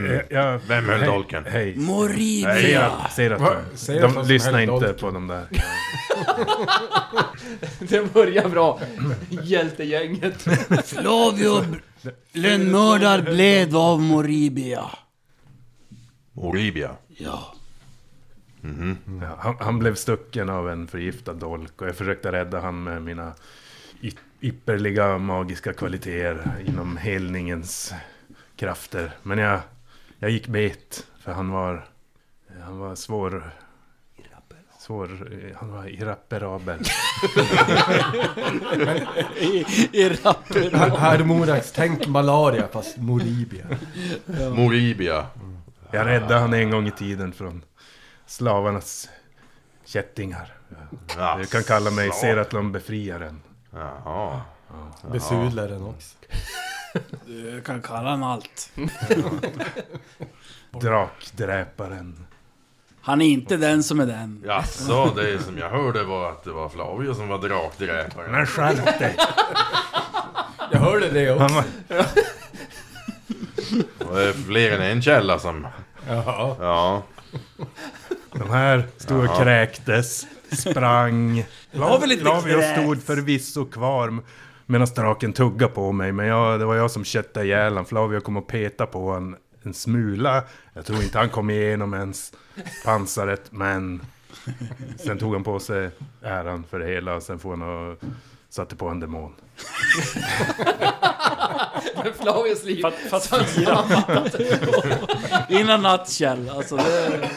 S10: Vem höll
S7: Hej,
S10: dolken?
S7: Hej. Säg
S8: Morinia.
S7: att, säg att
S6: Va?
S7: de-
S6: Säg att
S7: de
S6: han
S7: lyssnar
S6: smällde
S7: inte
S6: dolken.
S7: på de där.
S5: Det börjar bra. Hjältegänget.
S8: Flavio lönnmördar bled av Moribia.
S10: Oribia.
S8: Ja.
S7: Ja, han, han blev stucken av en förgiftad dolk och jag försökte rädda han med mina y- ypperliga magiska kvaliteter inom helningens krafter. Men jag, jag gick bet för han var, han var svår... Svår, han var irreparabel.
S8: I, i rappen.
S6: Harmorax, tänk malaria fast moribia.
S10: Moribia.
S7: Jag räddade han en gång i tiden från slavarnas kättingar.
S10: Ja.
S7: Du kan kalla mig Seratlon befriaren.
S10: Jaha.
S6: Besudlar den också.
S8: Du kan kalla honom allt.
S7: Drakdräparen.
S8: Han är inte den som är den.
S10: Jaså, det som jag hörde var att det var Flavio som var
S7: Men
S10: drakdräparen.
S7: skärp dig!
S6: Jag hörde det också.
S7: Han var,
S10: Och Det är fler än en källa som...
S6: Ja.
S10: Ja.
S7: De här stod och kräktes, sprang.
S8: har väl inte
S7: Flavio
S8: kräkts?
S7: stod förvisso kvar medan draken tuggade på mig. Men jag, det var jag som köttade ihjäl honom. Flavio kom och petade på en, en smula. Jag tror inte han kom igenom ens pansaret, men... Sen tog han på sig äran för det hela och sen får han och satte på en demon.
S5: Men Flavius liv.
S2: För att, för att fira.
S8: Innan nattkärl. Alltså det...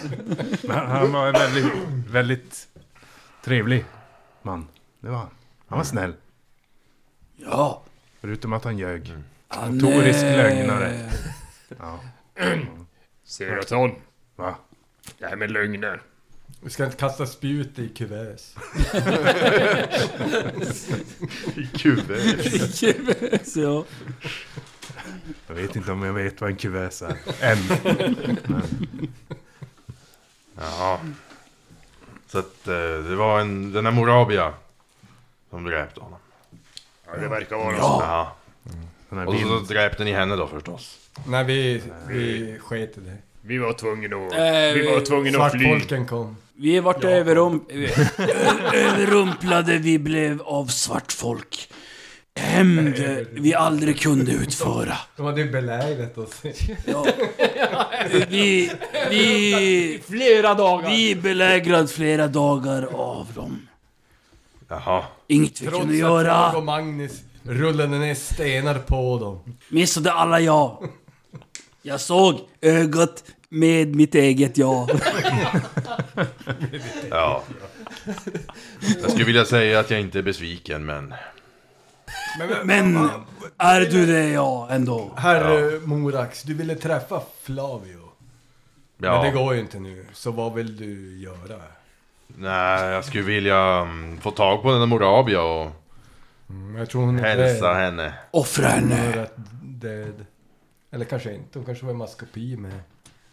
S7: Men han- han var en väldigt, väldigt trevlig man. Det var han. Han var snäll.
S8: Ja.
S7: Förutom att han ljög.
S8: Han,
S7: Notorisk
S8: eh,
S7: lögnare. Ja.
S9: Seraton.
S7: Va?
S9: Det här med lögner.
S6: Vi ska inte kasta spjut i kuvös.
S10: I kuvert.
S8: Så, ja.
S7: Jag vet inte om jag vet vad en kuvös är. Än.
S10: Ja. Så att eh, det var en, den här Morabia som dräpte honom.
S9: Ja, det verkar vara så.
S10: Ja.
S7: Den här
S10: Och så
S7: bild.
S10: dräpte ni henne då förstås.
S6: Nej, vi, vi sket i det.
S9: Vi var tvungna att...
S8: Eh,
S9: vi var tvungna att fly.
S6: Svartfolken kom.
S8: Vi vart överrum... (laughs) ö- överrumplade, vi blev av svartfolk. Hämnd vi aldrig kunde utföra.
S6: De hade ju belägrat oss.
S8: Ja. Vi, vi,
S5: Flera dagar.
S8: vi belägrade flera dagar av dem.
S10: Jaha.
S8: Inget vi kunde
S6: Trots att jag och
S8: göra.
S6: Magnus rullade ner stenar på dem.
S8: Missade alla jag. Jag såg ögat med mitt eget jag.
S10: Ja. Jag skulle vilja säga att jag inte är besviken men...
S8: Men är du det jag ändå?
S6: Herre Morax, du ville träffa Flavio.
S10: Ja.
S6: Men det går ju inte nu, så vad vill du göra?
S10: Nej, jag skulle vilja mm, få tag på den där Morabia och
S6: Mm, jag tror hon
S10: hälsa henne.
S8: Offra
S6: Hon är
S8: henne.
S6: rätt död. Eller kanske inte, hon kanske var i maskopi med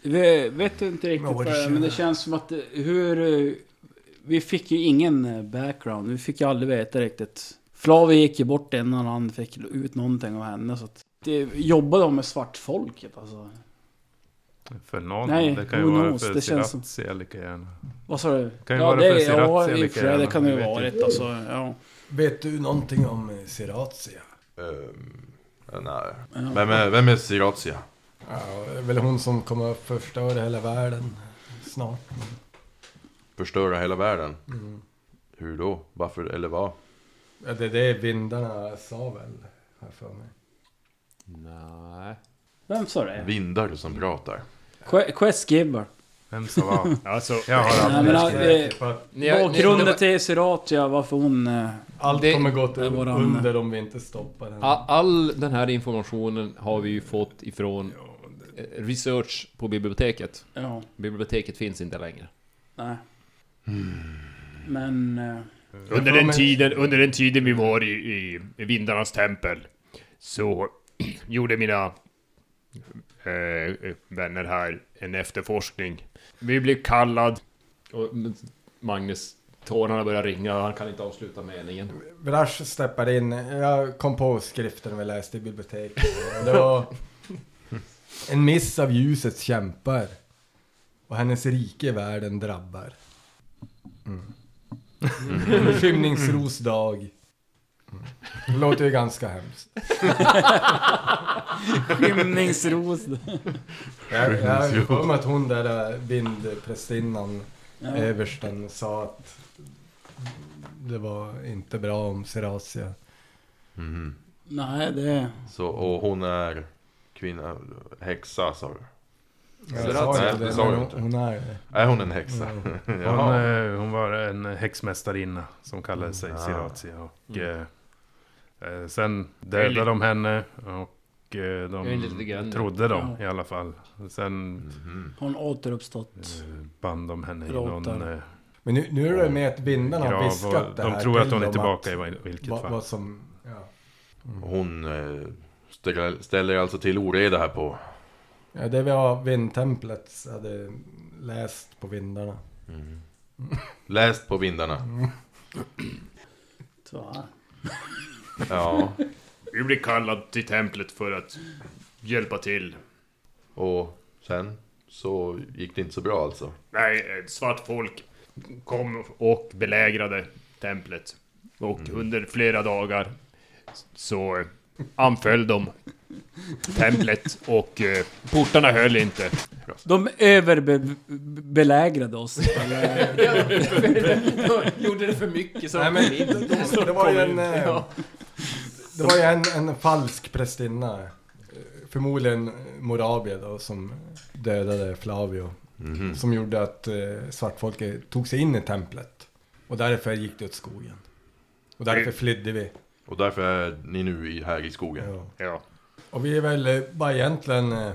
S8: Vi vet inte riktigt
S6: Men
S8: vad
S6: vad
S8: det
S6: det
S8: är, men det känns som att eh, hur... eh, Vi fick ju ingen eh, background, vi fick ju aldrig veta riktigt. Flavie gick ju bort innan han fick ut någonting av henne, så att... Det, jobbade de med svartfolket alltså?
S7: För någon,
S8: Nej,
S7: det kan ju
S8: who
S7: vara
S8: knows,
S7: för
S8: det känns
S7: Sirazia lika gärna.
S8: Vad sa du?
S7: Kan ju
S8: Ja,
S7: vara
S8: det-
S7: för
S8: ja,
S7: Sirazia
S8: i och för
S7: lika
S8: sig, det
S7: gärna.
S8: kan det ju
S7: vi vet
S8: vara
S7: ju
S8: rätt,
S7: inte.
S8: alltså, ja.
S6: Vet du någonting om eh, Siratia?
S10: nej. Ehm, Vem är, vem är Siratia?
S6: Ja, det är väl hon som kommer att förstöra hela världen snart.
S10: Förstöra hela världen?
S6: Mm.
S10: Hur då? Varför? Eller vad?
S6: Ja, det är det vindarna sa väl, har jag för mig.
S5: (laughs) Nej.
S8: Vem sa det?
S10: Vindar
S6: Mm.
S10: som pratar.
S8: Que- Quest Gibber.
S7: Vem sa vad?
S9: Alltså,
S7: jag har
S8: Nej, men,
S6: Jag är
S8: eh,
S6: typ att
S5: Ni har- ni- det var-
S8: bakgrunden till Siratia, varför hon... eh,
S6: Allt
S5: det-
S6: kommer gå till
S8: det är våran-
S6: under om vi inte stoppar den.
S5: A- All den här informationen har vi ju fått ifrån eh, research på biblioteket.
S8: Ja,
S5: Biblioteket finns inte längre.
S8: nej.
S7: Hmm.
S8: Men... eh,
S9: Under den, tiden, under den tiden vi var i, i vindarnas tempel så (clears throat) gjorde mina eh, vänner här en efterforskning. Vi blev kallad.
S5: Och Magnus, tårarna börjar ringa, han kan inte avsluta meningen.
S6: Vrash steppade in. Jag kom på skriften vi läste i biblioteket. Och Det
S10: (laughs)
S6: var en miss av ljusets kämpar. Och hennes rike världen drabbar.
S10: (laughs)
S6: Mm. Skymningsros dag. Det låter ju ganska hemskt.
S8: Skymningsros.
S6: Jag jag har ju för mig att hon där eh, vindprästinnan, översten, sa att det var inte bra om Serasia.
S10: Mhm.
S8: Nej, det...
S10: Så, och hon är kvinna, häxa sa du?
S6: Jag sa
S10: Nej,
S6: inte
S10: det
S6: det,
S10: sa
S6: men
S10: du
S6: hon-
S10: inte.
S6: hon är det.
S10: Är hon en häxa?
S6: Mm.
S10: (laughs)
S7: Hon,
S10: Jaha.
S7: eh, hon var en häxmästarinna som kallade sig
S6: Mm.
S10: Ah.
S7: Sirazia. Och,
S5: Mm.
S7: eh, eh, sen dödade de henne och eh,
S5: är lite grann-
S7: de trodde de i alla fall. Sen
S10: Mhm.
S8: Hon återuppstått.
S7: eh, band de henne i
S8: Råttor.
S7: någon eh,
S6: Men nu, nu är det med att vindarna har
S7: grav.
S6: viskat
S7: Och
S6: det här
S7: de tror att
S6: till
S7: hon är
S6: dem
S7: tillbaka i
S6: att-
S7: vil- vilket
S6: vad-
S7: fall.
S6: vad som, ja. Mm.
S10: Hon eh, ställer- ställer alltså till oreda här på...
S6: ja, det var vindtemplet hade läst på vindarna.
S10: Mm. Läst på
S6: Mm.
S10: vindarna.
S8: Så här.
S10: Ja.
S9: Vi blev kallad till templet för att hjälpa till.
S10: Och sen så gick det inte så bra alltså.
S9: Nej, ett svart folk kom och belägrade templet. Och under flera dagar så eh, anföll de templet och eh, portarna höll inte.
S8: De överbelägrade oss.
S5: (laughs) Gjorde det för mycket (laughs) så
S6: Nej men de, de, det var ju en... eh, Det var ju en, en falsk prästinna. eh, Förmodligen Morabia då som dödade Flavio.
S7: Mm.
S10: Mhm.
S6: Som gjorde att eh, svartfolket tog sig in i templet. Och därför gick det åt skogen. Och därför flydde vi.
S10: Och därför är ni nu i, här i skogen.
S6: Ja.
S9: Ja.
S6: Och vi är väl eh, bara egentligen... eh,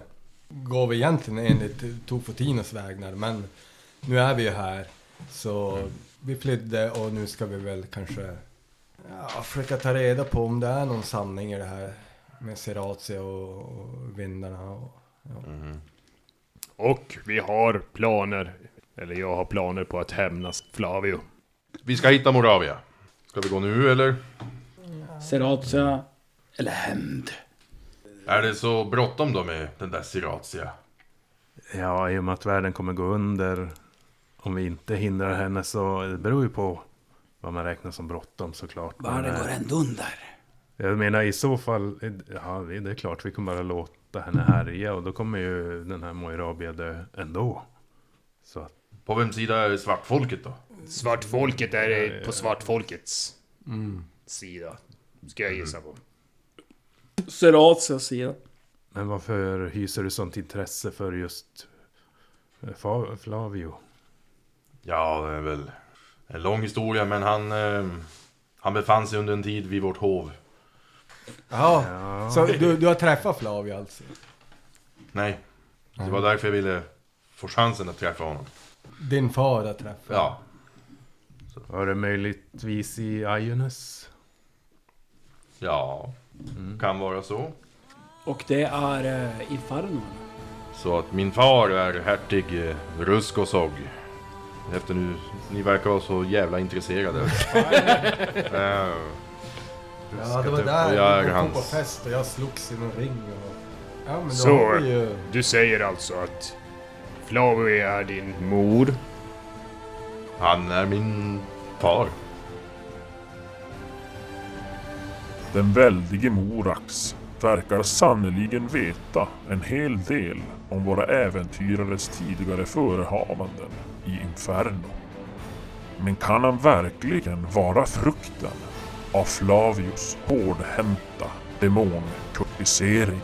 S6: Går vi egentligen enligt Tofotinos vägnar men nu är vi ju här. Så vi flydde och nu ska vi väl kanske ja, försöka ta reda på om det är någon sanning i det här med Seratia och, och vindarna. Och,
S10: Mhm.
S9: Och vi har planer, eller jag har planer på att hämnas Flavio.
S10: Vi ska hitta Moravia. Ska vi gå nu eller?
S8: Seratia. Eller hämnd.
S10: Är det så bråttom då med den där Siratia?
S7: Ja, i och med att världen kommer gå under. Om vi inte hindrar henne så det beror ju på vad man räknar som bråttom såklart. Men,
S8: Världen
S7: eh,
S8: går ändå under.
S7: Jag menar i så fall, ja det är klart vi kommer bara låta henne härja och då kommer ju den här Moirabia dö ändå. Så att,
S10: På vems sida är svartfolket då?
S9: Svartfolket är på svartfolkets sida. Ska jag gissa på.
S8: Seratias sida.
S7: men varför hyser du sånt intresse för just eh, Fa- Flavio?
S10: Ja, det är väl en lång historia men han... Eh, han befann sig under en tid vid vårt hov.
S6: Jaha,
S7: Ja,
S6: så du, du har träffat Flavio alltså?
S10: Nej. Det var därför jag ville få chansen att träffa honom.
S6: Din far har träffat?
S10: Ja.
S7: var det möjligtvis i Iones?
S10: Ja. Kan vara så.
S8: Och det är eh, Inferno.
S10: Så att min far är hertig eh, Ruskosog. Efter nu, ni verkar vara så jävla intresserade. Eh,
S6: Ja, det var
S10: Ruskotog.
S6: där
S10: Och jag är
S6: vi kom på
S10: hans...
S6: fest och jag slogs i någon ring och... Ja, men då
S9: Så,
S6: har vi ju...
S9: du säger alltså att Flavio är din mor?
S10: Han är min far.
S1: Den väldige Morax verkar sannoliken veta en hel del om våra äventyrares tidigare förehavanden i Inferno. Men kan han verkligen vara frukten av Flavius hårdhänta demonkurtisering?